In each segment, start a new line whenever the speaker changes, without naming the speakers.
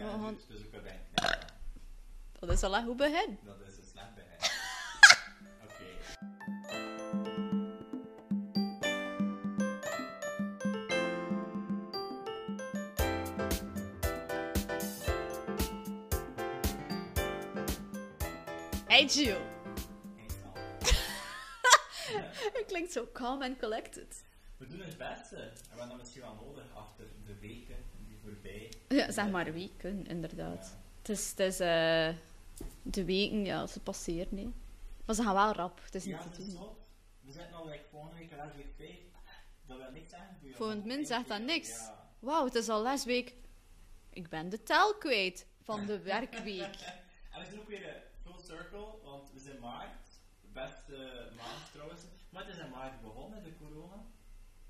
Oh, want
Dus ook bij mij. Ja,
dat is al een goed begin.
dat is een slecht begin. Oké.
Hey Gio,
ik snap. Ja,
je klinkt zo calm and collected.
We doen het beste. En we hebben dat misschien wel nodig achter de weken die voorbij.
Ja, zeg maar weken, inderdaad. Het is, het is eh, de weken, ja, ze passeren. Hè. Maar ze gaan wel rap, het is niet
Ja,
te
dat is
doen.
zo. We zitten al like, volgende week en elke week tijd. Dat wil niks zeggen. voor jou.
Voor het min zegt dat niks.
Ja.
Wauw, het is al les week. Ik ben de tel kwijt van de werkweek.
En we zijn ook weer eh, full circle, want we zijn maart. De beste maand trouwens. Maar het is in maart begonnen, de corona.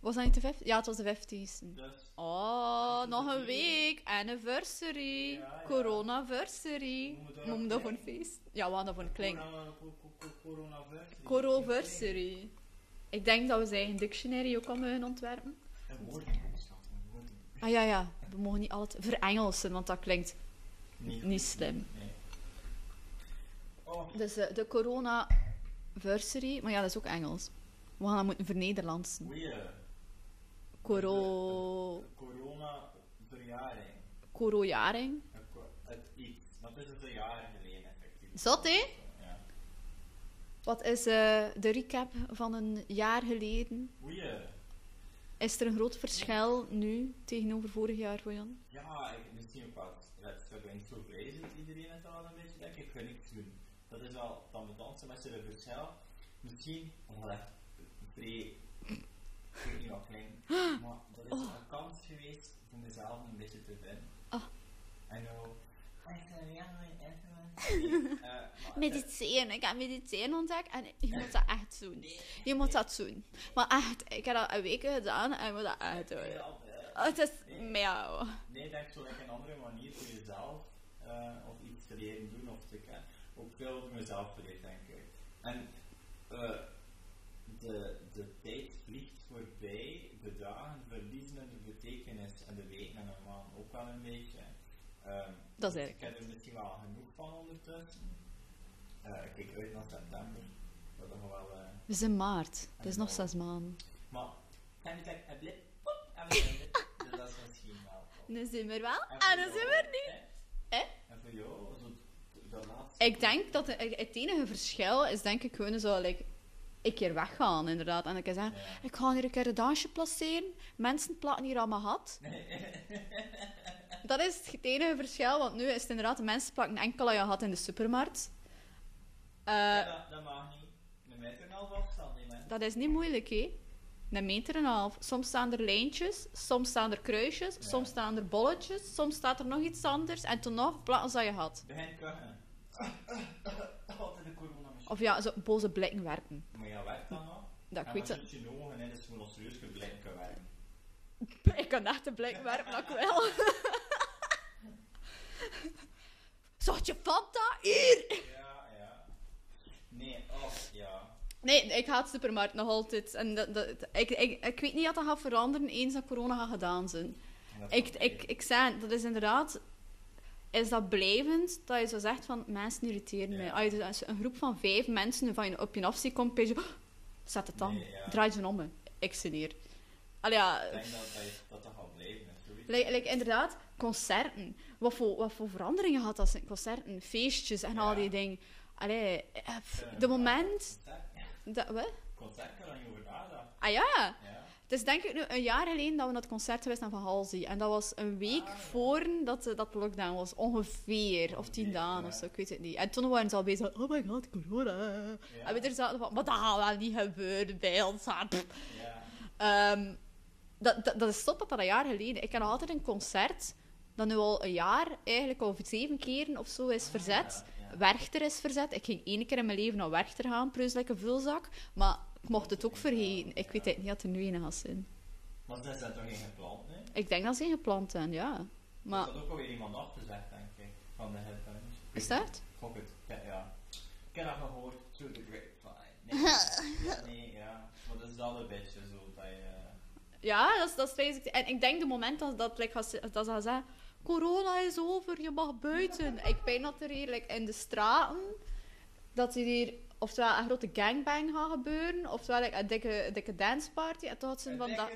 Was dat niet de 15 Ja, het was de 15
Dus
Oh, nog een week. Anniversary.
Ja, ja.
Coronaversary.
Noemen we dat
Noem
ook
dat voor
klein?
een feest. Ja, we hadden voor een klein.
corona- co- co- co- Coronaversary.
Coroversary. Ik denk dat we zijn eigen dictionary ook al mogen ontwerpen.
Een woordenboek, schat. Een woordenboek.
Ah ja, ja. We mogen niet altijd verengelsen, want dat klinkt
Nee,
niet slim.
Nee. Oh,
Dus eh, de coronaversary. Maar ja, dat is ook Engels. We gaan dat moeten vernederlandsen.
goeie.
Coro...
Corona verjaring.
Corojaring.
Een ko- Het iets. Want het is een jaar geleden effectief.
Zot, hè?
Ja.
Wat is eh, de recap van een jaar geleden?
Goeie.
Is er een groot verschil nu tegenover vorig jaar, Jan?
Ja, ik, misschien ook wel. Dat is ook niet zo vrij zit iedereen het al een beetje, denk ik. Ik ga niks doen. Dat is wel dan met dansen met z'n verschil. Misschien, omdat echt vrij, ik weet niet wat klein, maar dat is een kans geweest voor mezelf een beetje te vinden.
Oh.
En nou, echt een real influencer. Eh, maar-
Mediteren. Ik heb mediteren ontdekt en je moet dat echt doen. Je moet dat doen. Maar echt, ik heb dat een week gedaan en ik moet dat echt doen.
Ja, eh,
Oh, het is miauw.
Nee, denk zo like, een andere manier voor jezelf eh, of iets te leren doen of te kennen. Ook veel over mezelf geleerd, denk ik. En eh, de, de tijd vliegt voorbij, de dagen verliezen in de betekenis en de weken en de maanden ook wel een beetje. Ehm, dus
Dat is eigenlijk
Ik heb er misschien wel genoeg van ondertussen. Eh, ik kijk uit naar september. Dat is nog wel. eh,
We zijn maart. Het is nog zes maanden.
maar, kan je zeggen, een blip, pop, en we zijn dit. Dus dat is misschien wel.
Nu zijn we er wel
voor
en nu Ah, zijn
jou,
we er niet.
hè?
Hè?
En voor jou, zo, t- dat laatste.
Ik denk dat het, het enige verschil is, denk ik, gewoon zo, like, een keer weggaan, inderdaad. En ik kan zeggen,
Ja.
ik ga hier een keer een dansje placeren. Mensen platen hier aan mijn hat. Dat is het enige verschil, want nu is het inderdaad, de mensen plakken enkel aan je hat in de supermarkt. Eh,
Ja, dat, dat mag niet. Een meter en een half afstand, hè, mensen.
dat is niet moeilijk, hè. Een meter en een half. Soms staan er lijntjes, soms staan er kruisjes,
Ja.
soms staan er bolletjes, soms staat er nog iets anders. En toen nog plakken ze aan je hat.
Begin kuchen. Altijd de coronamachine.
Of ja, zo boze blikken werpen.
Maar ja, werkt dat nog?
Dat ik weet het.
het. je ogen in, dus je moet nog serieus kunnen blijven kunnen werken.
Ik kan echt een blik werpen dat ik wil. Zocht je Fanta? Hier!
Ja, ja. Nee, oh, ja.
Nee, ik haat supermarkt nog altijd. En dat, dat- ik, ik, ik weet niet dat dat gaat veranderen eens dat corona gaat gedaan zijn.
En dat is
Ik,
oké.
ik, ik zei, dat is inderdaad... Is dat blijvend dat je zo zegt van mensen irriteren mij.
Ja.
Als je dus een groep van vijf mensen van je op je afzie komt, ben je zo, "Oh, Zet het dan.
Nee, ja.
Draai je om. hè. Ik zie hier. Allee, ja,
Ik denk dat dat, je- dat, dat gaat blijven, hè, zoiets.
Like, like, inderdaad, concerten. Wat voor, wat voor veranderingen had dat? in Concerten, feestjes en
Ja.
al die dingen. Allee, eh, pff,
Eh,
de moment...
Concert-
Dat, wat?
Concert kan er niet over nadenken.
Ah ja,
Ja.
het is denk ik nu een jaar geleden dat we naar het concert geweest zijn van Halsey. En dat was een week
Ah, ja.
voor dat, eh, dat de lockdown was, ongeveer. Of tien
Ongeveer,
dagen
ja.
of zo, ik weet het niet. En toen waren ze al bezig, oh my god, corona.
Ja.
En we er zaten van, maar dat gaat wel niet gebeuren bij ons. Ah, pff.
Ja.
Ehm, dat, dat, dat is top dat dat een jaar geleden. Ik heb nog altijd een concert dat nu al een jaar, eigenlijk al zeven keren of zo, is
Ah,
verzet.
ja, ja.
Werchter is verzet. Ik ging één keer in mijn leven naar Werchter gaan, preuslijke vulzak. Maar ik mocht het ook vergeten. Ik weet eigenlijk niet dat er nu een gaat zijn.
Maar ze zijn toch geen gepland, hè?
Ik denk dat ze gepland zijn, ja. Maar,
Er zat ook alweer iemand afgezegd, denk ik, van de headphones.
is dat?
Gok het, ja. ja. Ik heb dat gehoord, through the grapevine. Nee, ja, nee, ja. Maar dat is wel een beetje zo bij... eh
Ja, dat is, dat is vreselijk. En ik denk de moment dat, dat, like, gaat ze- dat ze gaan zeggen... corona is over, je mag buiten. ik pijn dat er hier like, in de straten, dat er hier oftewel een grote gangbang gaat gebeuren, oftewel like, een dikke, een dikke danceparty. En toen had ze van dat...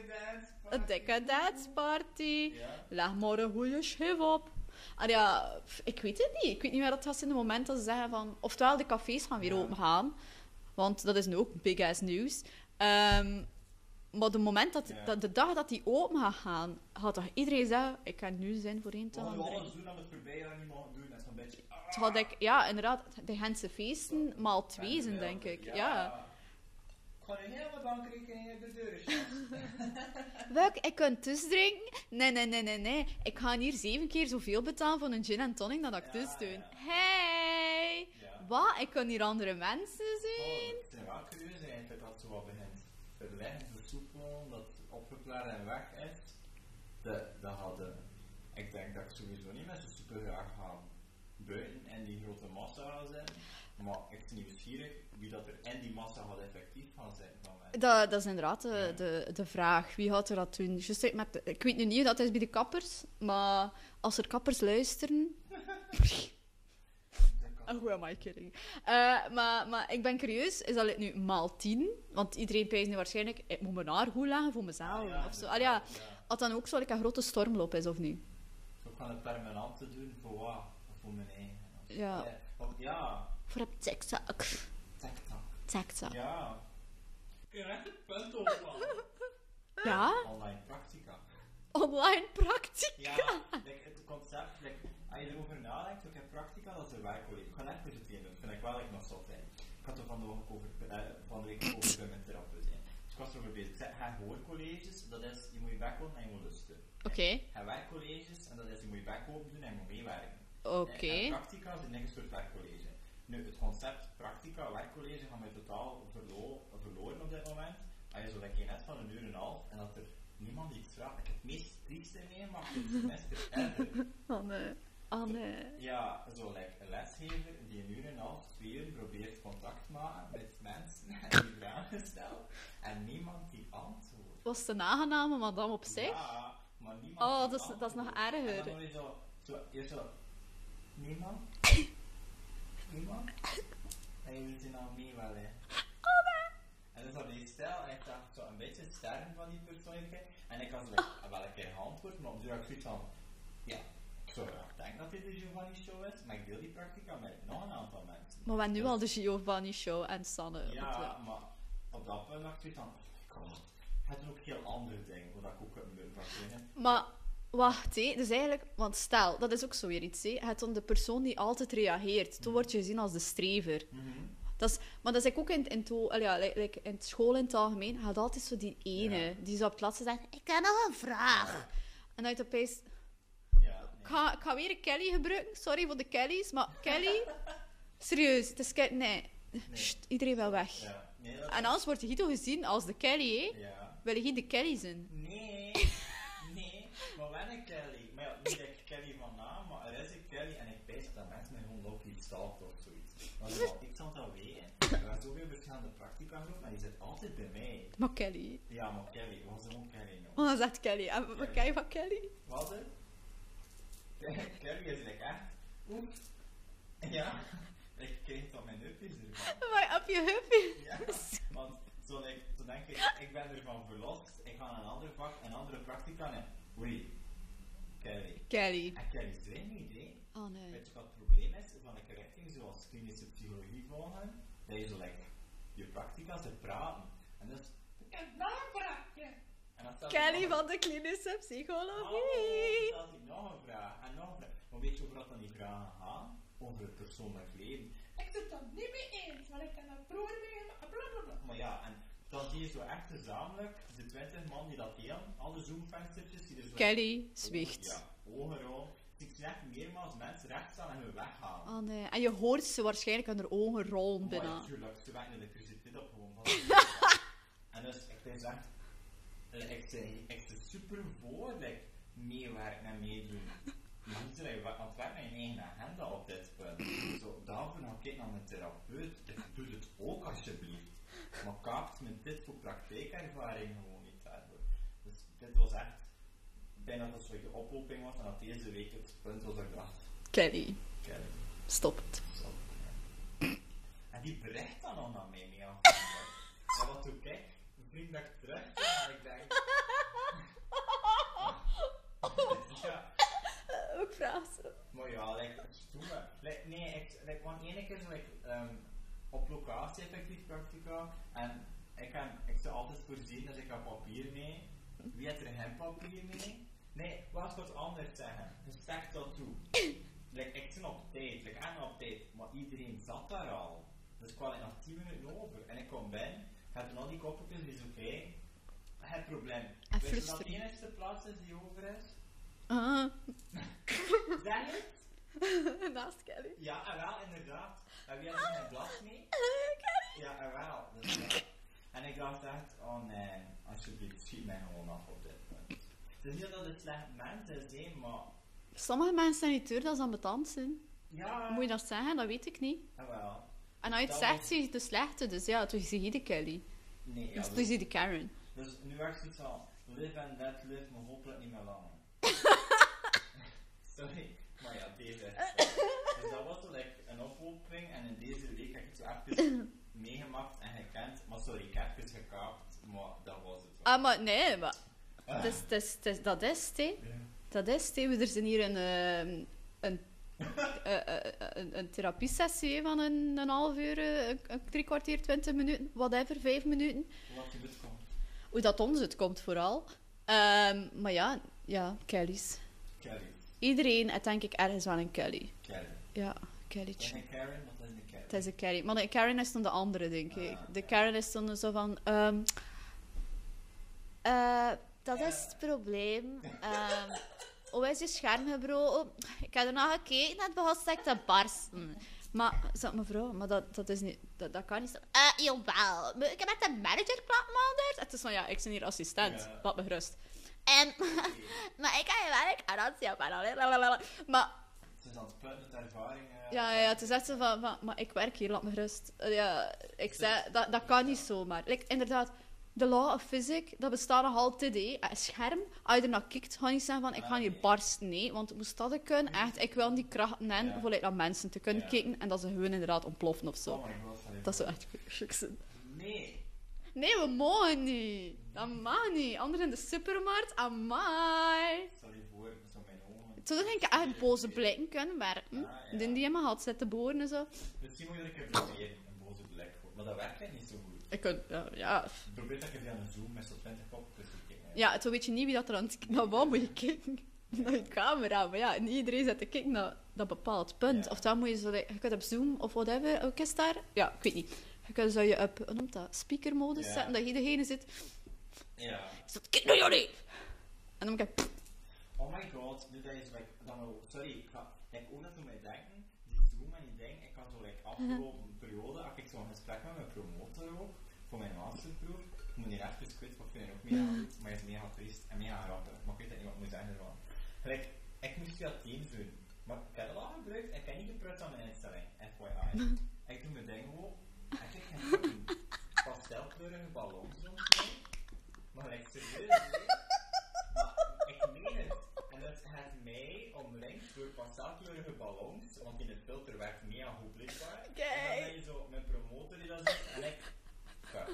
Een dikke danceparty.
Ja.
Leg maar een goede schif op. En ja, pff, ik weet het niet. Ik weet niet meer dat gaat in het moment dat ze zeggen van... Oftewel, de cafés gaan weer
Ja.
open gaan. Want dat is nu ook big ass nieuws. Ehm, maar de moment dat,
Ja.
dat de dag dat die open gaan gaan, had toch iedereen zeggen... Ik heb nu zin voor één te
Wat we
gaan
alles doen aan het voorbij jaar niet mogen doen, dat is een beetje... ah,
Toen had ik... Ja, inderdaad. De Gentse feesten maal twee zijn,
wel,
denk ik. ja.
Ik ga nu helemaal bankrijk in de deur.
Welk? Ik kan tus drinken? Nee, nee, nee, nee, nee. Ik ga hier zeven keer zoveel betalen voor een gin en tonic dat ik
Ja,
tus doe.
ja.
Hey!
Ja.
Wat? Ik kan hier andere mensen zien?
Oh, het is wel curieus eigenlijk dat zo wat begint. Verleggen, versoepelen, dat opgeklaard en weg is. Dat, dat hadden. Ik denk dat ik sowieso niet met zo super graag ga buiten en die grote massa gaan zijn. Maar ik ben nieuwsgierig wie dat er in die massa gaat effectief gaan zijn van mij.
Dat, dat is inderdaad de,
Ja.
de, de vraag. Wie gaat er dat doen? Just like met de- ik weet nu niet hoe dat is bij de kappers, maar als er kappers luisteren...
Dat kan-
Oh, who am I kidding? Eh, maar, maar ik ben curieus, is dat nu maal tien? Want iedereen pijst nu waarschijnlijk, ik moet mijn haar goed leggen voor mezelf. of zo.
dat
Al ja,
kan, ja.
als dan ook zo like, een grote stormloop is, of niet?
Zo kan het permanent te doen voor wat? Voor mijn eigen. of zo.
Ja.
want ja,
Voor op TikTok.
TikTok.
TikTok. Ja?
Ja. Ik heb echt een punt op. Online practica.
Online praktiek.
Ja, like, het concept, like, als je erover nadenkt, ik heb practica, dat is een werkcollega. Ik ga net presenteren, dat vind ik wel like, nog zot zijn. Ik had er van de, week over, eh, van de week over bij mijn therapeut. hè. Dus ik was erover bezig. Ik zei, Hij hoorcolleges, dat is, je moet je bek open en je moet lusten.
Oké.
Hij werkcolleges, en dat is, je moet je bek open doen en je moet meewerken.
Oké.
En eh, practica is een eigen soort werkcollege. Nu, het concept practica, werkcollege gaan we totaal verlo- verloren op dit moment. Als je zo lekker net van een uur en een half en dat er niemand iets vraagt. Ik heb het meest trieste meegemaakt in het semester ever.
Anne. Anne.
Ja, zo lekker een lesgever die een uur en een half, twee uur probeert contact te maken met mensen en die vragen stelt. En niemand die antwoordt.
Was de nagename madame op zich?
Ja, maar niemand
Oh,
die
dat is, dat is nog
antwoordt. En dan
erger.
hoor je zo, zo, je zo, niemand? niemand? En je moet je nou mee wel, hè. En dat is op die stijl, en ik dacht zo een beetje sterren van die persoonlijkheid. En ik had zo like, wel een keer geantwoord, maar op de dag zoiets van, ja, ik zou graag denken dat dit de Giovanni Show is, maar ik deel die practica met nog een aantal mensen.
Maar we hebben nu
Dus-
al de Giovanni show en Sanne.
ja, maar op dat punt dacht ik dan, god, het is ook heel andere dingen, wat ik ook heb willen verzinnen.
Maar wacht, hé. Dus eigenlijk, want stel, dat is ook zo weer iets. Hé. Het dan de persoon die altijd reageert.
Mm.
Toen word je gezien als de strever.
Mhm.
Dat is, maar dat is like ook in, in, to, al ja, like, like in school in het algemeen. Je had altijd zo die ene
Ja.
die zo op het laatste zegt: Ik heb nog een vraag. En uit opeens.
Ja,
Ik
nee.
ga, ik ga weer een Kelly gebruiken. Sorry voor de Kellys, maar Kelly... Serieus, het is Kelly... Nee. Sst, iedereen wel weg.
Ja, nee, dat
En anders wordt Guido gezien als de Kelly, hè.
Ja.
Wil je geen de Kelly zijn?
Nee, nee, maar wel een Kelly. Maar ja, niet dat ik Kelly van naam, maar er is een Kelly en ik weet dat mensen mij gewoon lopen iets stalkt of zoiets. Want ja, ik zal dat weten. Er waren zoveel verschillende practica groepen, maar die zit altijd bij mij.
Maar Kelly.
Ja, maar Kelly, was gewoon Kelly nog.
Oh, dat is echt Kelly. En wat
Ja.
ken je van Kelly?
Wat is? Kelly is like echt. Oef. Ja, ik kreeg dan mijn upjes ervan.
Maar op je huppies.
Ja, want toen, ik, toen denk ik, ik ben ervan verlost, ik ga naar een ander vak, een andere practica en oei, Kelly.
Kelly.
En Kelly is geen idee.
Oh, nee.
Weet je wat het probleem is van een richting zoals klinische psychologie volgen? Dat je zo lekker je practica ze praten. En dat is, ik heb naamvraagje. En dan stelt
Kelly
hij nog-
van de klinische
Oh,
psychologie.
dan stelt hij nog een vraag en nog een vraag. Maar weet je over wat dan die vragen gaan? Over het persoonlijk leven. Ik doe dat niet mee eens, want ik heb een broer mee, blablabla. Maar ja, en dan zie je zo echt gezamenlijk de 20 man die dat delen, alle zoomvenstertjes die er zo
Kelly zwicht.
ja, ogenroom. Ik zie echt meermaals mensen recht staan en hun weghalen.
Oh, nee. En je hoort ze waarschijnlijk aan haar ogen rollen
Maar
binnen.
natuurlijk, ze werken elektriciteit op gewoon van. en dus, ik ben echt. eh, Ik zei, ik ben super voor dat ik meewerken en meedoen. Maar niet alleen wa- want we hebben een eigen agenda op dit punt. Zo, daarvoor nog kijken naar mijn therapeut. Ik doe het ook alsjeblieft. Maar kaapt met dit voor praktijkervaring gewoon niet daarvoor. Dus dit was echt Ik denk dat dat zo de ophoping was en dat deze week het punt was dat ik dacht,
Kelly,
kijk,
stop het.
zo. En die bericht dan nog naar mij mee aan. En wat doe ik? Een vriend dat ik terug en ik denk, ja,
Ook frazen.
Maar ja, like, het doet me. Like, nee, ik, like, want ene keer zo, like, ehm, op locatie effectief practica. En ik, heb, ik sta altijd voorzien, dus ik heb papier mee. Wie heeft er geen papier mee? Nee, laat ik wat anders zeggen. Je stekt dat toe. like, ik ben op tijd, like, en op tijd. Maar iedereen zat daar al. Dus ik kwam er nog 10 minuten over. En ik kom binnen, heb nog die koppeltjes, die is oké. Het probleem. Weet je wat
En
de
frustrerend.
enige plaats is die over is?
Ah,
Zeg het!
naast Kelly.
Ja, en wel, inderdaad. En wie had er mijn blad mee? Ja, en wel. Dus, ja. En ik dacht echt, oh nee, alsjeblieft, schiet mij gewoon af op dit punt. Het is niet dat het slecht mens is, hè, maar...
Sommige mensen zijn niet duur, dat is ambetant zijn.
Ja,
Moet je dat zeggen? Dat weet ik niet.
en wel.
En als je het
Dat
zegt,
is-
zie je de slechte. Dus ja, toen zie je de Kelly.
Nee, ja,
Dus toen
dus,
zie je de Karen.
dus nu heb ik zoiets van, live and let live, maar hopelijk niet meer langer. Sorry, maar ja, deze is het. Dus dat was zo, like, een ophoping en in deze week heb ik het zo even meegemaakt en gekend. Maar sorry, ik heb het gekaapt, maar dat was het wel.
Ah, maar nee, maar... het is- het is- het is- dat is het, hè. Dat is het, hè. We- Er zijn hier een, ehm, een, eh, eh, eh, een, een therapiesessie hè, van een, een half uur, eh, een, een drie kwartier, twintig minuten, whatever, vijf minuten.
Wat je komt.
Hoe dat ons het komt vooral. Ehm, maar ja, ja, Kelly's.
Kelly.
Iedereen heeft denk ik ergens wel een Kelly.
Kelly.
Ja, Kelly.
Is een Karen? Wat is een Kelly?
Het is een Karen. Maar de Karen is dan de andere, denk ik.
Ah,
De
ja.
Karen is dan zo van... ehm, eh, dat is het probleem. Ehm hoe is je scherm gebroken? Ik heb ernaar gekeken en het begon sterk te barsten. Maar, zat mevrouw, maar dat, dat is niet... Dat, dat kan niet zo... Eh, jawel. Maar Ik heb met de manager praat, anders. Het is van, ja, ik ben hier assistent.
Ja.
Laat me gerust. En... maar ik kan je wel een garantie op aan. Maar...
Het is aan het punt met ervaring. eh,
Ja, ja, ja, het is echt zo van, van, maar ik werk hier, laat me rust. Eh, ja, ik zei, dat, dat kan niet zomaar. Like, inderdaad, de law of physics, dat bestaat nog altijd, hé. Een scherm, als je er naar kijkt, ga je niet zeggen van, ik ga
Ah,
je
nee.
barst. Nee, want moest dat ik kunnen, echt, ik wil die kracht nemen
Ja.
voluit naar mensen te kunnen
Ja.
kijken en dat ze gewoon inderdaad ontploffen of zo.
Oh mijn god, van
Dat zou echt verschrikkelijk zijn.
Nee.
Nee, we mogen niet. Dat mag niet. Anders in de supermarkt, amai.
Sorry voor, dat is mijn ogen.
Toen ging ik echt boze blikken kunnen werken.
Ah, ja.
Die die in mijn had zitten boren en zo.
Misschien moet je dat een keer proberen, een boze blik. hoor. Maar dat werkt eigenlijk niet zo goed.
Ik kon, ja, ja,
Probeer dat je via een zoom met zo'n 20 koppeltjes te kijken.
Ja, toen weet je niet wie dat er aan het k- naar wat moet je kijken. Naar je camera. Maar ja, niet iedereen zet te kijken naar dat bepaald punt.
Ja.
Of dan moet je zo... like, Je kunt op Zoom of whatever. Ook is daar... Ja, ik weet niet. Je kunt zo je op... Hoe noemt dat? Speakermodus
Ja.
zetten. Dat iedereen zit...
Ja.
Zit kijk naar jullie! En dan moet ik...
Oh my god, nu dat je zo, like, dan ook- sorry, ik ga, like, ook dat doet mij denken, die Zoom en die ding, ik had zo, like, afgelopen periode, had ik zo'n gesprek met mijn promotor ook, voor mijn masterproef, ik moet niet even kwijt, want ik vind het ook mega goed, maar het is mega triest en mega grappig, maar ik weet dat niet wat ik moet zeggen ervan. Like, ik moest via Teams doen, maar ik heb dat al gebruikt, ik heb niet geprut aan mijn instelling, FYI. ik doe mijn ding gewoon, en ik krijg geen fucking pastelkleurige ballons soms mee, maar ik serieus, nee. Maar ik meen het. En dat heeft mij omringd door pastelkleurige ballons, want in het filter werkt mega goed blijkbaar. En dan ben je zo mijn promotor die dat zegt en ik... Fuck.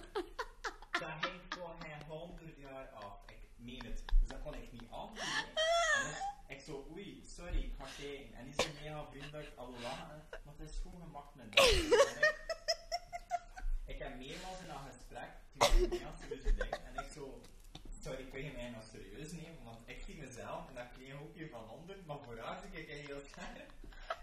Dat ging gewoon geen honderd jaar af. Ik meen het. Dus dat kon ik niet afdoen. hè. En dus ik zo, oei, sorry, ik ga kijken. En die is zo mega vriendelijk, allo lachen. Maar het is gewoon gemaakt met dat. En ik- ik heb meermaals in een gesprek, toen ik mega serieuze dingen, en ik zo, sorry, kun je mij nog serieus nemen? Want ik zie mezelf en dat klein hoekje van onder, maar vooruit zie ik heel scherp.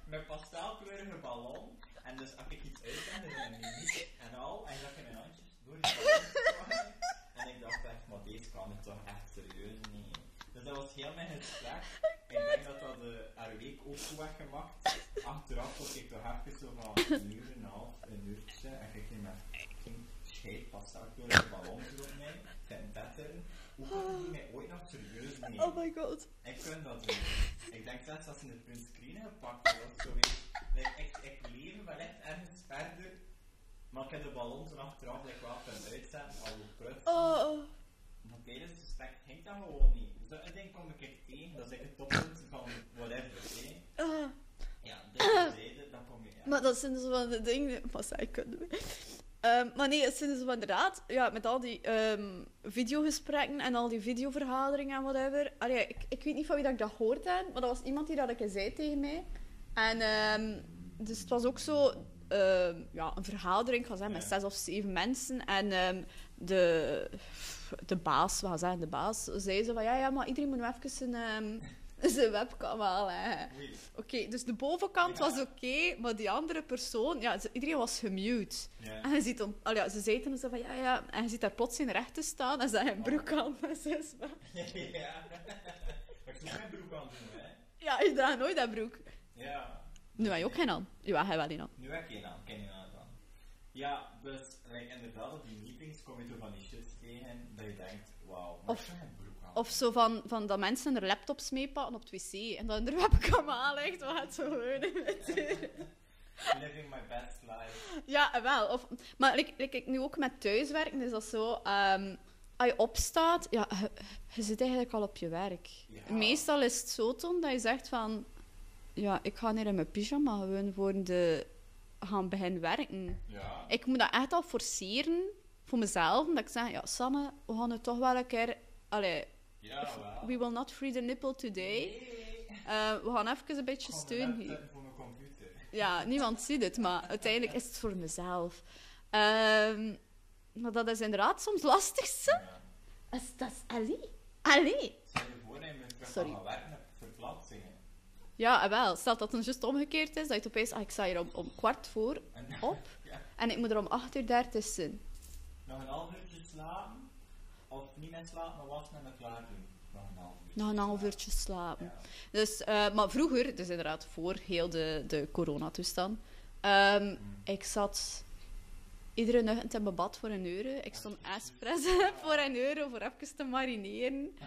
Met pastelkleurige ballon, en dus als ik iets uitzend, is het een muziek en al, en zag je mijn handjes door die ballon zwaaien. En ik dacht echt, maar deze kan het toch echt serieus nemen. Dus dat was heel mijn gesprek. Ik denk dat dat de haar week ook goed werd gemaakt. Achteraf was ik toch even zo van een uur en een half, een uurtje. En ik ging met geen scheet pas uit door de ballons op mij. Zijn bed erin. Hoe kan die mij ooit nog serieus nemen?
Oh my god.
Ik kan dat doen. Ik denk zelfs dat ze de print screen gepakt hebben of zoiets. Like, ik, ik leef wellicht ergens verder. Maar ik heb de ballon toen achteraf like, wel kunnen uitzetten, al hoe prut.
Oh.
Maar tijdens het gesprek ging dat gewoon niet. Dus dat ding kom ik echt tegen, dat is echt het toppunt van whatever. hè.
Ah,
Ja, dat zeiden, dan kom je. Ja.
maar dat zijn dus van de dingen... Maar zij kunnen we. Ehm, maar nee, het zijn dus wel inderdaad... Ja, met al die ehm, videogesprekken en al die videovergaderingen en whatever. Allee, ik, ik weet niet van wie dat ik dat gehoord heb, maar dat was iemand die dat ik eens zei tegen mij. En ehm, dus het was ook zo... ehm, ja, een vergadering, ik ga zeggen, met
Ja.
zes of zeven mensen. En ehm, de, de baas, we gaan zeggen, de baas, zei zo van... Ja, ja, maar iedereen moet nou even zijn, ehm, zijn webcam halen. hè."
Oei.
Oké, dus de bovenkant
Ja.
was oké, maar die andere persoon, ja, ze- iedereen was gemute.
Ja.
En je ziet om, al ja, ze zeiden zo van ja, ja, en je ziet daar plots in recht te staan en ze had een broek aan en ze is van,
ja. Maar ik moet mijn broek aan doen, hè?
Ja, ik draag nooit dat broek.
Ja.
Nu heb je ook geen aan. Ja, hij wel een aan.
Nu heb je naam, ken je naam dan. Ja, dus like, inderdaad, op die meetings kom je toch van die shit tegen dat je denkt, wauw, maar
Of-
ik heb mijn broek aan.
Of zo van, van dat mensen hun laptops meepakken op het wc en dan hun webcam aanlegt, wat gaat zo gebeuren met u?
Living my best life.
Ja, wel. Of, maar like, like ik nu ook met thuiswerken is dat zo. ehm, als je opstaat, ja, je, je zit eigenlijk al op je werk.
Ja.
Meestal is het zo, Tom, dat je zegt van... Ja, ik ga hier in mijn pyjama gewoon voor de... gaan beginnen werken.
Ja.
Ik moet dat echt al forceren voor mezelf. Omdat ik zeg, ja, Sanne, we gaan het toch wel een keer... Allee,
Ja, wel.
we will not free the nipple today. Eh, we gaan even een beetje steun geven.
voor mijn computer.
Ja, niemand ziet het, maar uiteindelijk is het voor mezelf. Ehm, maar dat is inderdaad soms lastigste.
Ja.
Dat is, dat is Ali. Ali.
Stel je voor dat je met terug
Sorry.
aan werken hebt, verplaatsingen.
Ja, en wel. Stel dat het juist omgekeerd is, dat je het opeens... Ah, ik sta hier om, om kwart voor
En
op
ja,
en ik moet er om acht uur daar tussen.
nog een half uurtje slapen, of niet meer slapen, maar wassen en dan klaar doen. Nog een half uurtje.
Nog een half
slapen.
uurtje slapen.
Ja.
Dus, eh, maar vroeger, dus inderdaad voor heel de, de coronatoestand, ehm, ik zat iedere nacht in mijn bad voor een euro. Ik stond espresso voor een euro voor even te marineren.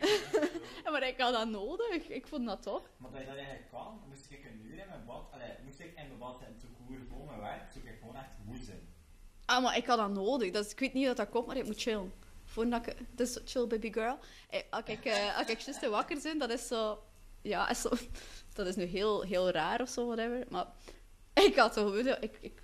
Ja, maar ik had dat nodig. Ik vond dat tof.
Maar dat je dat eigenlijk kan, moest ik een uur in mijn bad, allee, moest ik in mijn bad zijn te koer voor mijn werk, zoek ik gewoon echt moe zijn.
Ah, maar ik had dat nodig. Dus ik weet niet dat dat komt, maar ik moet chillen. Voordat ik... Dat is zo, chill, baby girl. Eh, Als ik, eh, als ik juist te wakker ben, dat is zo... Ja, is zo, dat is nu heel, heel raar of zo, whatever. Maar ik had toch gewoon... Ik, ik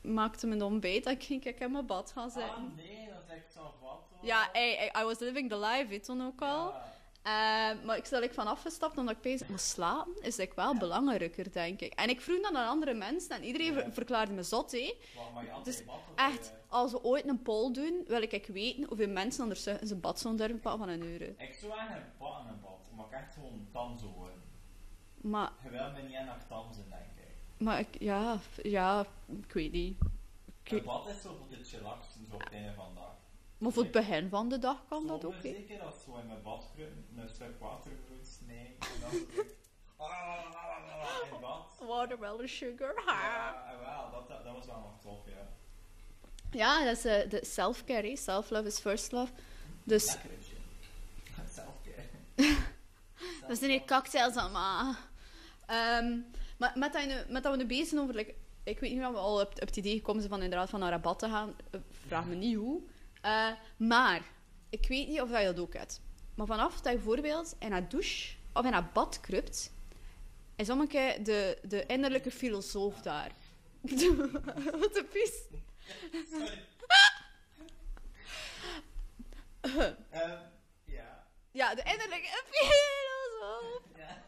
maakte mijn ontbijt en ging ik in mijn bad gaan zitten.
Ah nee, dat is echt zo wat hoor.
Ja, ey, ey, I was living the life, weet je dan ook al.
Ja.
Ehm, maar ik stel ik van afgestapt omdat ik pees, maar slapen is ik wel belangrijker, denk ik. En ik vroeg dat aan andere mensen en iedereen ver- verklaarde me zot, hé.
Wat, maar je had
Dus
geen bad, of,
Echt,
eh,
als we ooit een poll doen, wil ik echt weten hoeveel mensen anders in zijn badzon durven pakken van een euro.
Ik zou aan een bad in mijn bad, maar ik echt gewoon tanzen worden.
Maar,
Je wil me niet aan haar tanzen, denk ik.
maar ik, ja, f- ja, ik weet niet. Ik-
Een bad is zo voor de chillaxen, zo op het einde van de dag.
maar voor het begin van de dag kan dat ook,
Soms
hè.
Zeker als zo in mijn bad kruipen, een stuk water moet snijden. en dan zo- Ah, ah, ah, ah, ah, in bad.
Watermelon sugar, ha.
Ja, wel, dat, dat, dat was wel nog tof, ja.
Ja, dat is eh, de self-care, hè. self-love is first love. Dus,
Lekker is je. Selfcare.
dat zijn hier cocktails allemaal. Ehm, maar met dat, je nu- met dat we nu bezig zijn over... like, ik weet niet of we al op, op het idee gekomen zijn van inderdaad van naar rabat te gaan. Eh, Vraag me niet hoe. Eh, maar, ik weet niet of dat je dat ook hebt. Maar vanaf dat je bijvoorbeeld in haar douche of in haar bad kruipt, is om een keer de, de innerlijke filosoof daar. Wat een pies.
Sorry. Ehm, ja.
Ja, de innerlijke filosoof.
Ja.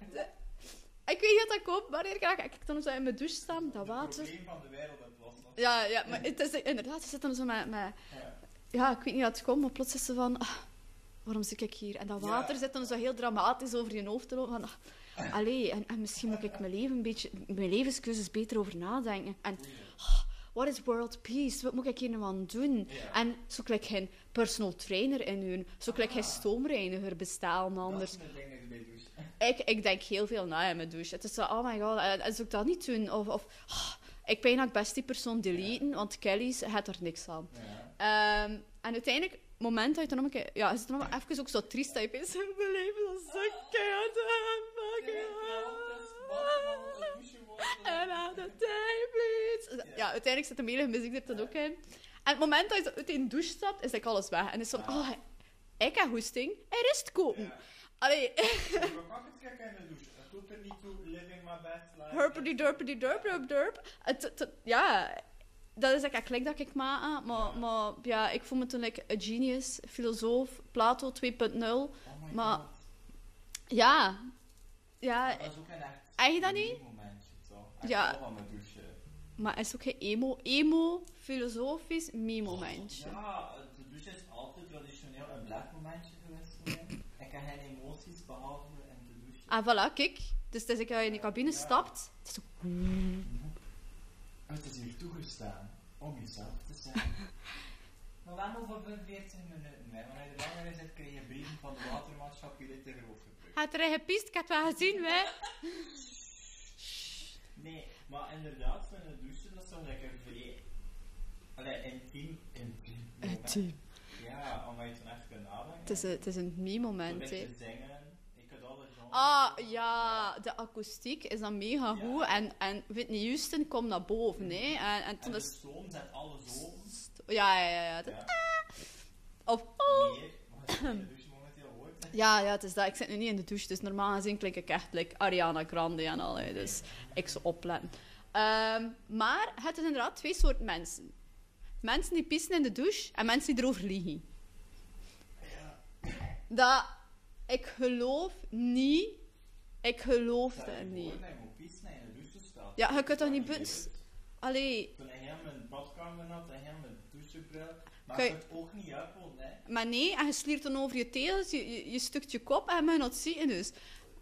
Ik weet niet of dat komt, maar ik kijk ik dan zo in mijn douche staan, dat
Het
water.
probleem van de wereld oplossen.
Ja, ja, maar het is inderdaad, ze zit dan zo met, met...
Ja.
Ja, ik weet niet wat het komt, maar plots is ze van... ah, waarom zit ik hier? En dat
Ja.
water zit dan zo heel dramatisch over je hoofd te lopen. Van, ah, allee, en, en misschien moet ik mijn, leven een beetje, mijn levenskeuzes beter over nadenken. En
Oei.
what is world peace? Wat moet ik hier nou aan doen?
Ja.
En zo kan ik geen personal trainer inhuren. Zo kan ik geen
Ah.
stoomreiniger bestellen
Dat
anders.
is een ding dat je bij douche.
Ik, ik denk heel veel na in mijn douche. Het is zo, oh my god, en, en zou ik dat niet doen? Of, of ah, ik ben eigenlijk best die persoon deleten, want Kelly's had er niks aan.
Ja.
Ehm, en uiteindelijk, het moment dat je dan nog een keer... Ja, is het dan nog even ook zo triest dat je opeens in mijn leven dat is zo keihard aan
Ja, dat is wat, want de douche wordt-
En aan de tijd, Ja, uiteindelijk zit de melige muziek er dan ook in. En het moment dat je uit die douche stapt, is like alles weg. En is van,
Ja.
oh, Ik heb hoesting, er is te kopen.
Ja.
Allee,
Ik ben wakker te kijken in de douche. Het doet er niet toe, living my best life.
hurpity durpity durp durp durp. Het, het- het- ja, dat is like een klik dat ik maak. aan, Maar,
Ja.
maar ja, ik voel me toen like een genius, filosoof, Plato 2.0.
Oh my
Maar-
god.
Ja, ja,
Dat is ook een echt...
Eigen je dat niet?
uniek momentje, toch? Echt
Ja.
wel aan mijn douche.
Maar is ook geen emo. Emo, filosofisch, meme-momentje.
Ja, de douche is altijd traditioneel een black momentje geweest voor mij. Ik heb geen emoties behalve in de douche.
Ah, voilà, kijk. Dus het is ik als je in de cabine stapt. Het is zo...
Het is hier toegestaan om jezelf te zijn. maar wel over veel 14 minuten, hè. Wanneer je langer zit, krijg je brieven van de watermaatschap jullie te groot gebruikt.
Gaat er gepiest, ik heb het wel gezien, hè.
Nee, maar inderdaad, van de douche, dat is toch lekker vrij... Allee, intiem, intiem moment. Ja, omdat je toen echt kunt nadenken.
Het is een, het is een meme-moment, hè.
Te zingen. Ik kan alles doen.
Ah, ja, de akoestiek is dan mega
Ja.
goed. En, en Whitney Houston komt naar boven, hè. En, en
En
toen
de
is...
stoom zet alles open.
Ja, ja, ja. ja. Dat-
Ja.
Of... oh.
Meer, maar het is in de douche momenteel hoort.
Ja, ja, het is dat. Ik zit nu niet in de douche, dus normaal gezien klink ik echt like Ariana Grande en al. hè, Dus ik zou opletten. Ehm, maar het is inderdaad twee soorten mensen. Mensen die pissen in de douche en mensen die erover liegen.
Ja.
Dat, ik geloof niet, ik geloof
Stel
dat
je
niet.
voor dat je moet pissen en in de douche staat.
Ja, je kunt toch niet
Dat
bus-
lukt.
Allee,
Toen hij hem een badkamer had en hem een douchebril. Maar
Kun
je
je-
kunt ook niet uitpolen, hè.
maar nee, en je sliert dan over je tegels, je, je, je stukt je kop en je mag het zien dus.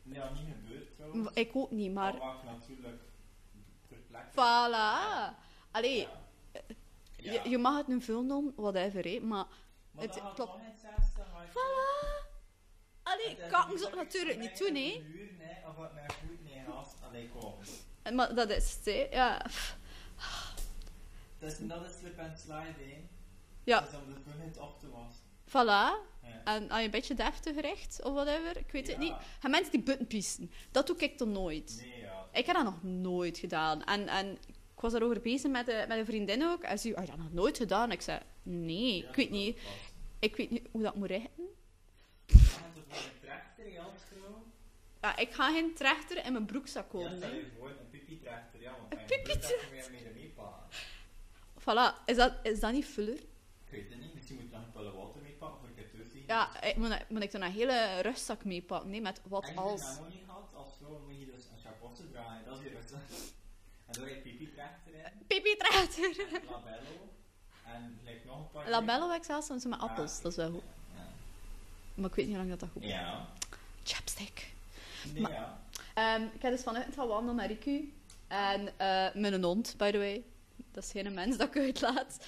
Nee, dat niet gebeurd trouwens.
Ik ook niet, maar...
Dat maakt natuurlijk ter plekke.
Voilà! Allee,
Ja. Ja.
Je, je mag het nu vullen om, whatever, hè, maar...
Maar
het
dat gaat
klopt.
toch in hetzelfde hartje.
Voilà! Allee,
Het is
kakken
niet
ze ook
dat ik
natuurlijk niet doen,
vermengd
hè.
een muur, nee, Of wat mijn goed nee, haast. Allee, kom.
En Maar dat is het, hè. Ja. pff.
Dat is Dus dat is slip and slide, hè.
Ja.
Dat is om de vulling op te wassen.
Voilà.
Ja.
En als je een beetje deftig recht, of whatever, ik weet het
Ja.
niet. En mensen die butten piesten, dat doe ik dan nooit.
Nee, ja.
Ik heb dat nog nooit gedaan. En, en ik was daarover bezig met, eh, met een vriendin ook. En ze zei, heb je dat nog nooit gedaan? Ik zei, nee,
Ja,
ik weet
dat
niet.
past.
Ik weet niet hoe dat moet richten.
Gaat het voor een trechter, ja, trouw?
Ja, ik ga geen trechter in mijn broekzak
Ja,
komen.
stel
hè.
je voor, een pipi-trechter, ja, want hij
Een
moet
pipi-trechter.
dat weer mee meepakken.
Voilà. Is dat, is dat niet fuller?
Ik weet het niet, misschien moet ik nog een pelle water meepakken voor ik het terug zie.
Ja, ik moet, moet ik dan een hele rugzak meepakken, nee, met wat
En je
als.
dat nog niet gehad, als vrouw moet je dus een chapotte draaien, dat is je beste. En dan heb je pipi-trechter in,
Pipi trechter.
en labello, en gelijk nog een paar...
Labello heb ik zelfs en ze met appels,
Ah,
dat is wel goed.
Ja.
Maar ik weet niet hoe lang dat, dat goed is.
Ja.
Chapstick.
Nee,
Maar-
ja.
Ehm, ik heb dus vanuit gaan wandelen met Riku. En eh met een hond, by the way. Dat is geen mens dat ik uitlaat.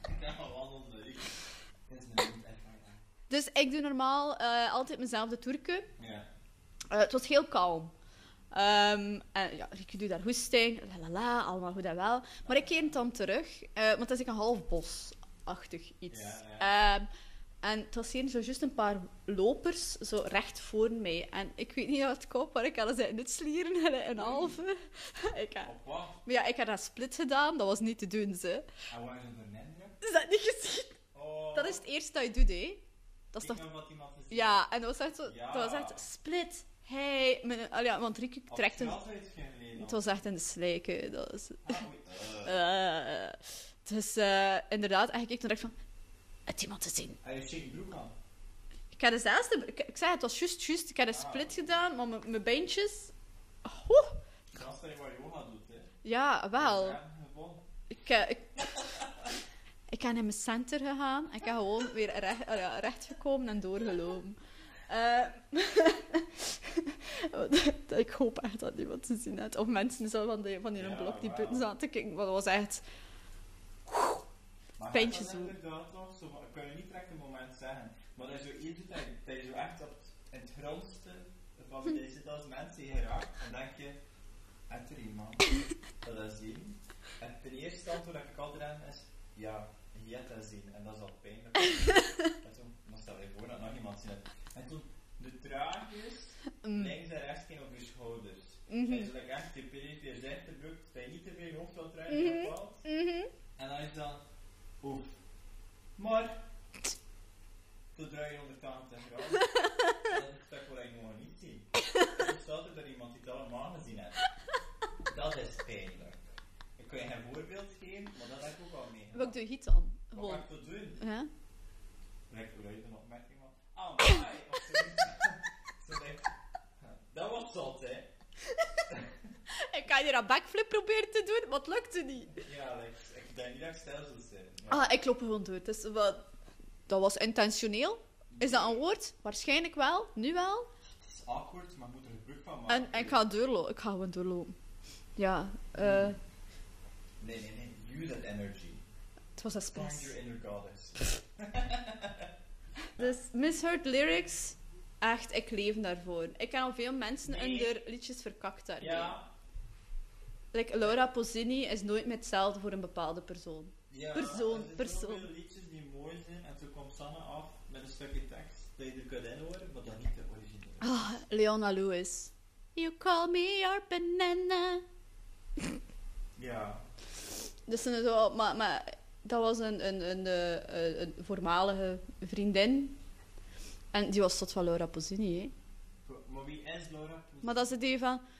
Ik heb al wandelde, ik... Het is mijn niet echt waar.
Dus ik doe normaal eh, altijd mezelf de toerke.
Ja.
Eh, het was heel kalm. Ehm, en ja, Riku doet daar hoesting, la la la, allemaal goed en wel. Maar ik keer dan terug, eh, want het is een half bosachtig iets.
Ja,
Ehm, en het was hier zo juist een paar lopers, zo recht voor mij. En ik weet niet wat het komt, maar ik had ze in het slieren en een halve. ik heb,
Op wat?
maar ja, ik heb dat split gedaan, dat was niet te doen, ze.
En waar zijn er minder?
Is dat niet gezien?
Oh,
Dat is het eerste dat je doet, hè? Dat is
ik
toch
heb wat iemand gezien.
Ja, en dat was echt, zo,
Ja.
dat was echt split. Hey, mijn, allee, ja, want Riku
Op
trekt
het
een...
gras uit geen Nederland.
Het was echt in de slijken. Dat was,
Ah, oei. Eh.
eh, dus eh, inderdaad, en ik keek toen direct van... Het iemand te zien.
Hij heeft chique broek aan.
Ik had dezelfde... Ik, ik zei, het was juist, juist. Ik had een
Ah.
split gedaan, maar mijn- mijn beentjes... Oeh,
Dat is toch wat yoga doet, hè?
ja, wel.
Ja, gewoon.
Ik, eh, ik, ik ben in mijn center gegaan. En ik heb gewoon weer recht, ah ja, rechtgekomen en doorgelopen. Eh, want ik hoop echt dat niemand te zien had. Of mensen zo van, die, van die
Ja,
blok die
wel.
buiten zaten te kijken. Want dat was echt...
Maar
Pijntje
dat is
zo.
inderdaad toch, zo, ik kan je niet direct een moment zeggen. Maar dat is zo iets dat je- dat je zo echt op het- in het grondste van wie je zit
Hm.
als mens die geraakt. Dan denk je, het er iemand. Dat is zien. En ten eerste antwoord dat ik altijd aan is, ja, je hebt dat zien. En dat is al pijnlijk. en toen, maar stel je voor dat nog iemand zien hebt. En toen, de traagjes,
mm.
links en rechts ging op je schouders.
Mhm.
En zo dat je echt je perifere rechterbroek, dat je niet te veel hoofd wil draaien,
Mhm.
dat valt.
Mhm.
En dan is dan, oef, Maar, zodra je onder tafel te graven, dat is dat wat ik gewoon niet zie. Er staat er dat iemand die het allemaal gezien heeft. Dat is pijnlijk. Ik kan je geen voorbeeld geven, maar dat heb ik ook al mee.
Wat doe je dan?
Wat ga
Gewoon.
ik dat doen?
Ja?
Lekker luid een opmerking van, ah, mij! Of zoiets. Zo denk ik, dat was zot, hè?
Ik ga hier een backflip proberen te doen, maar het lukte niet.
Ja, Alex, ik denk niet dat ik stijl zou zijn. maar-
Ah, ik loop gewoon door. Dus wat... Dat was intentioneel. Is dat een woord? Waarschijnlijk wel. Nu wel.
Het is awkward, maar ik moet er gebruik van maken.
En, en ik ga doorlopen. Ik ga gewoon doorlopen. Ja. eh,
Nee, nee, nee. You that energy.
het was
Find
expres.
your inner goddess.
Dus Misheard Lyrics. Echt, ik leef daarvoor. Ik ken al veel mensen
Nee.
in hun liedjes verkakt daarmee.
Ja.
Like, Laura Pozzini is nooit meer hetzelfde voor een bepaalde persoon.
ja.
Persoon,
er zijn
persoon.
zoveel liedjes die mooi zijn en toen komt Sanne af met een stukje tekst dat je er kunt inhoren, maar dat niet de originele.
Ah, Leona Lewis. You call me your banana.
Ja.
Dus toen zo, maar, maar dat was een, een, een, eh, een voormalige vriendin. En die was tot van Laura Pozzini, hè.
Maar wie is Laura Poes?
Maar dat ze die van...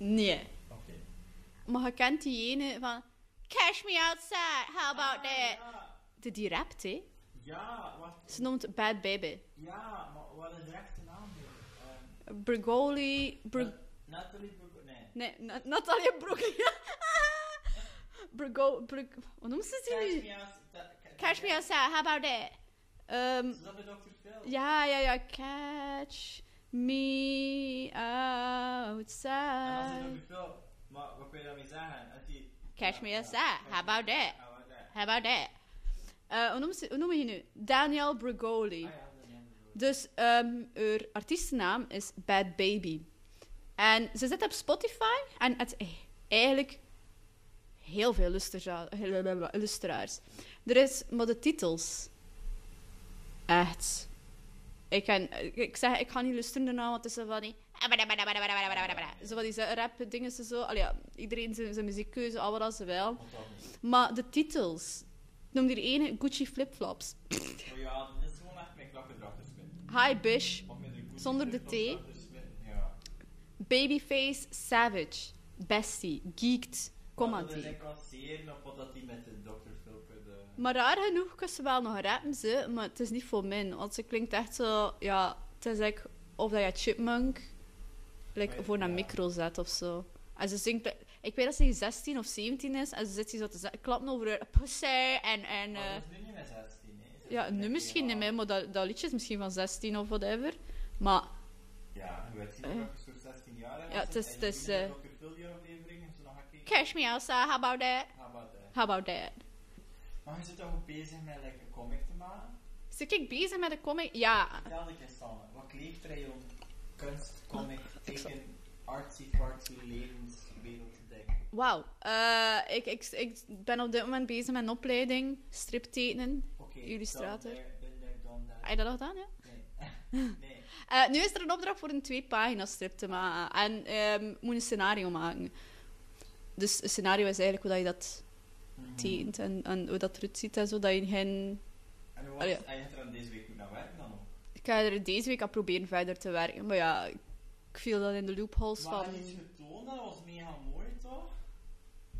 Nee.
dus- Oké.
Maar je kent die ene van... Cash me outside, how about
Ah,
that?
ja.
Die die rapt, hè.
Ja, wat?
Ze noemt Bad Baby.
Ja, maar wat is de echte naam? hier? Ehm,
Brigoli. Br-
Na- Nathalie Brugge. Nee.
nee, Na- Natalia Brugge. Brigoli. Brig- Hoe noemt ze
Cash
die?
me out. da- ca-
Catch me outside, how about that? Ehm,
Is dat bij Dr. Phil?
ja, ja, ja. Catch me
En als hij
outside.
Dr. Phil, maar wat kun je daarmee zeggen? Als hij-
Catch
Ja,
me
ja.
outside, how about that?
How about that?
How about that? Eh, hoe, noemt ze, hoe noem je die nu? Daniel Brigoli.
Ah ja, dat is een andere.
Dus ehm haar artiestennaam is Bad Baby. En ze zit op Spotify en het eigenlijk heel veel lustra- lustraars. Er is maar de titels. Echt. Ik, kan, ik zeg, ik ga niet lusteren daarna, want het is zo van die... eh, Zo van die rap dingen zo. Allee, ja, iedereen zijn, zijn muziekkeuze, al wat ze wel.
Of dat niet.
Maar de titels. Ik noem die ene Gucci flipflops.
Maar ja, dat is gewoon echt mijn klappen spin.
Hi, Bish.
Of met een goed
Zonder de
flip-flop
thee?
drachterspin. Ja.
Babyface, Savage, Bestie, Geeked,
Maar Dat is
Commandie.
een kasseren of wat dat die met de Dr. Phil kunnen...
Maar raar genoeg kunnen ze wel nog rappen, ze, maar het is niet voor min. Want ze klinkt echt zo, ja, het is like, of dat je chipmunk like,
Ah, Ja.
voor een micro zet of zo. En ze zingt, ik weet dat ze 16 of 17 is, en ze zit hier zo te zet- klappen over haar pussy en... en
Maar
eh,
Ah, dat is nu niet meer 16, hè? Ze
ja,
zijn
nu misschien niet
helemaal-
meer, maar dat, dat liedje is misschien van 16 of whatever. Maar
Ja, weet je
Eh.
dat ik zo'n 16 jaar
Ja, het is- het is, eh,
Dr. Phil die aflevering en zo nog een keer...
cash me outside, how about that?
How about that?
How about that?
Maar je zit toch ook bezig met like, een comic te maken?
Ze ik bezig met een comic? Ja,
Vertel ik eens dan, wat kleeft er in jouw kunst, comic, teken, artsy-fartsy levenswereld te denken?
Wauw. Eh, ik, ik, ik ben op dit moment bezig met een opleiding, striptekenen.
Oké,
Illustrator. Ah.
dan there, been there, done
Heb
that.
je dat al gedaan, ja?
Nee. nee.
Eh, nu is er een opdracht voor een twee pagina strip te maken. En ehm moet een scenario maken. Dus een scenario is eigenlijk hoe dat je dat
Mhm.
tekent en, en hoe dat eruit ziet en zo. Dat je geen...
Mhm. En wat
Allee.
en je gaat er aan deze week moeten aan werken dan ook?
Ik ga er deze week aan proberen verder te werken. Maar ja, ik viel dan in de loopholes
Maar
van...
heb je iets getoond, dat was mega mooi toch?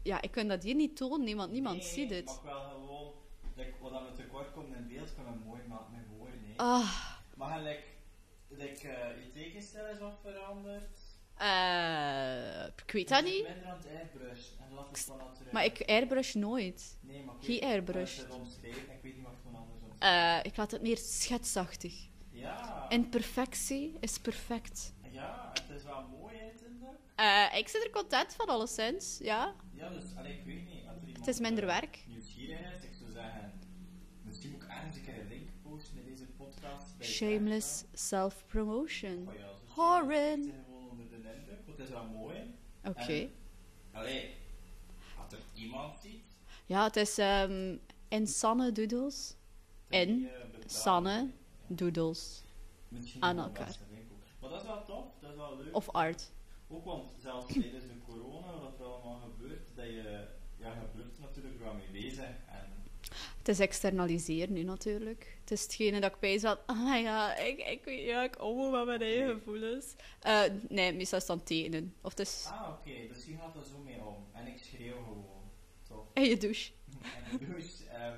Ja, ik kan dat hier niet tonen, nee, want niemand
Nee,
ziet
maar
het.
ik wel gewoon, like, wat dat we tekort komt in beeld, kunnen we mooi maken met woorden. hè.
Ah,
Maar gelijk, like, eh, je tekenstijl is wat veranderd.
eh, ik weet dat
Je zit
niet.
Minder aan het airbrushen en laat het van natuurlijk.
Maar ik airbrush nooit.
Nee, maar ik
He
weet niet hoe
airbrushed.
ze het omschreven. Ik weet niet wat ik van anders omschreef.
Eh, ik laat het meer schetsachtig.
ja,
En perfectie is perfect.
ja, het is wel mooi, hè, Tinder?
Eh, ik zit er content van, alleszins. Ja,
Ja, dus, allee, ik weet niet. Als er
het is minder werk.
Nieuwsgierig is, ik zou zeggen, misschien moet ik ergens moet ik er een link posten met deze podcast. bij
Shameless
Kafka.
self-promotion.
Oh ja, zo
Horen.
Ik ben gewoon onder de indruk, want het is wel mooi.
Oké.
Allee, als er iemand ziet...
Ja, het is ehm Insanne Doodles.
dan
En
die, eh, betalen.
Sanne.
Ja.
Doodles.
Misschien
aan
wel
elkaar.
best een winkel. Maar dat is wel tof, dat is wel leuk.
Of art.
Ook want zelfs tijdens de corona, wat er allemaal gebeurt, dat je... Ja, je blijft natuurlijk wel mee bezig. En
Het is externaliseren nu natuurlijk. Het is hetgene dat ik bij zat. Ah ja, ik, ik weet ja, ik ommel met mijn eigen gevoelens. Eh, nee, meestal is het dan tekenen. Of het is
Ah, oké, dus je gaat er zo mee om. En ik schreeuw gewoon. Toch?
in je douche.
en dus, ehm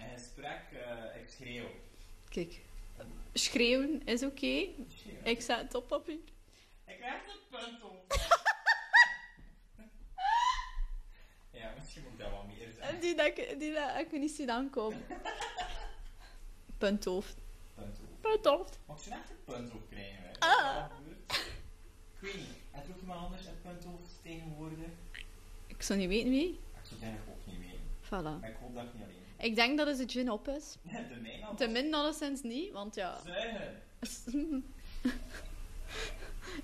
een gesprek, eh, ik schreeuw.
Kijk, schreeuwen is oké.
Ik schreeuw.
Ik zet het op papier.
Ik heb de punt op. ja, misschien moet ik dat wel meer
En
zeggen.
die dat ik, die dat ik niet zie aankomen. Punt hoofd.
Punt op.
Punt hoofd.
Mag ik zo'n echte punt op krijgen? Hè?
Ah.
Wat gebeurt? Ik weet niet. Heb je ook iemand anders een punt op tegenwoordig?
Ik zou niet weten wie.
Ik zou het eigenlijk ook niet weten.
Voilà.
Maar ik hoop dat ik niet alleen
Ik denk dat het de gin op is.
ben. De mijne al.
Te min alleszins niet, want ja.
Zuigen.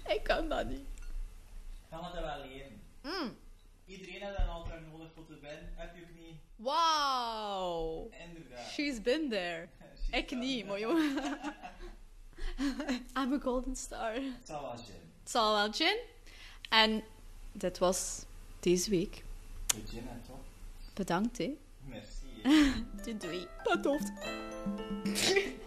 ik kan dat niet.
Dan gaat dat wel leren.
Mm.
Iedereen heeft een altaar nodig om te winnen. Heb je ook niet?
Wauw.
Inderdaad.
She's been there.
She's
Ik
done.
niet, maar jongen. I'm a golden star.
Het zal wel zijn.
Het zal wel gin. En dit was deze week.
Regina, toch?
Bedankt, hè.
Merci. hè.
Doei doei. Dat hoofd.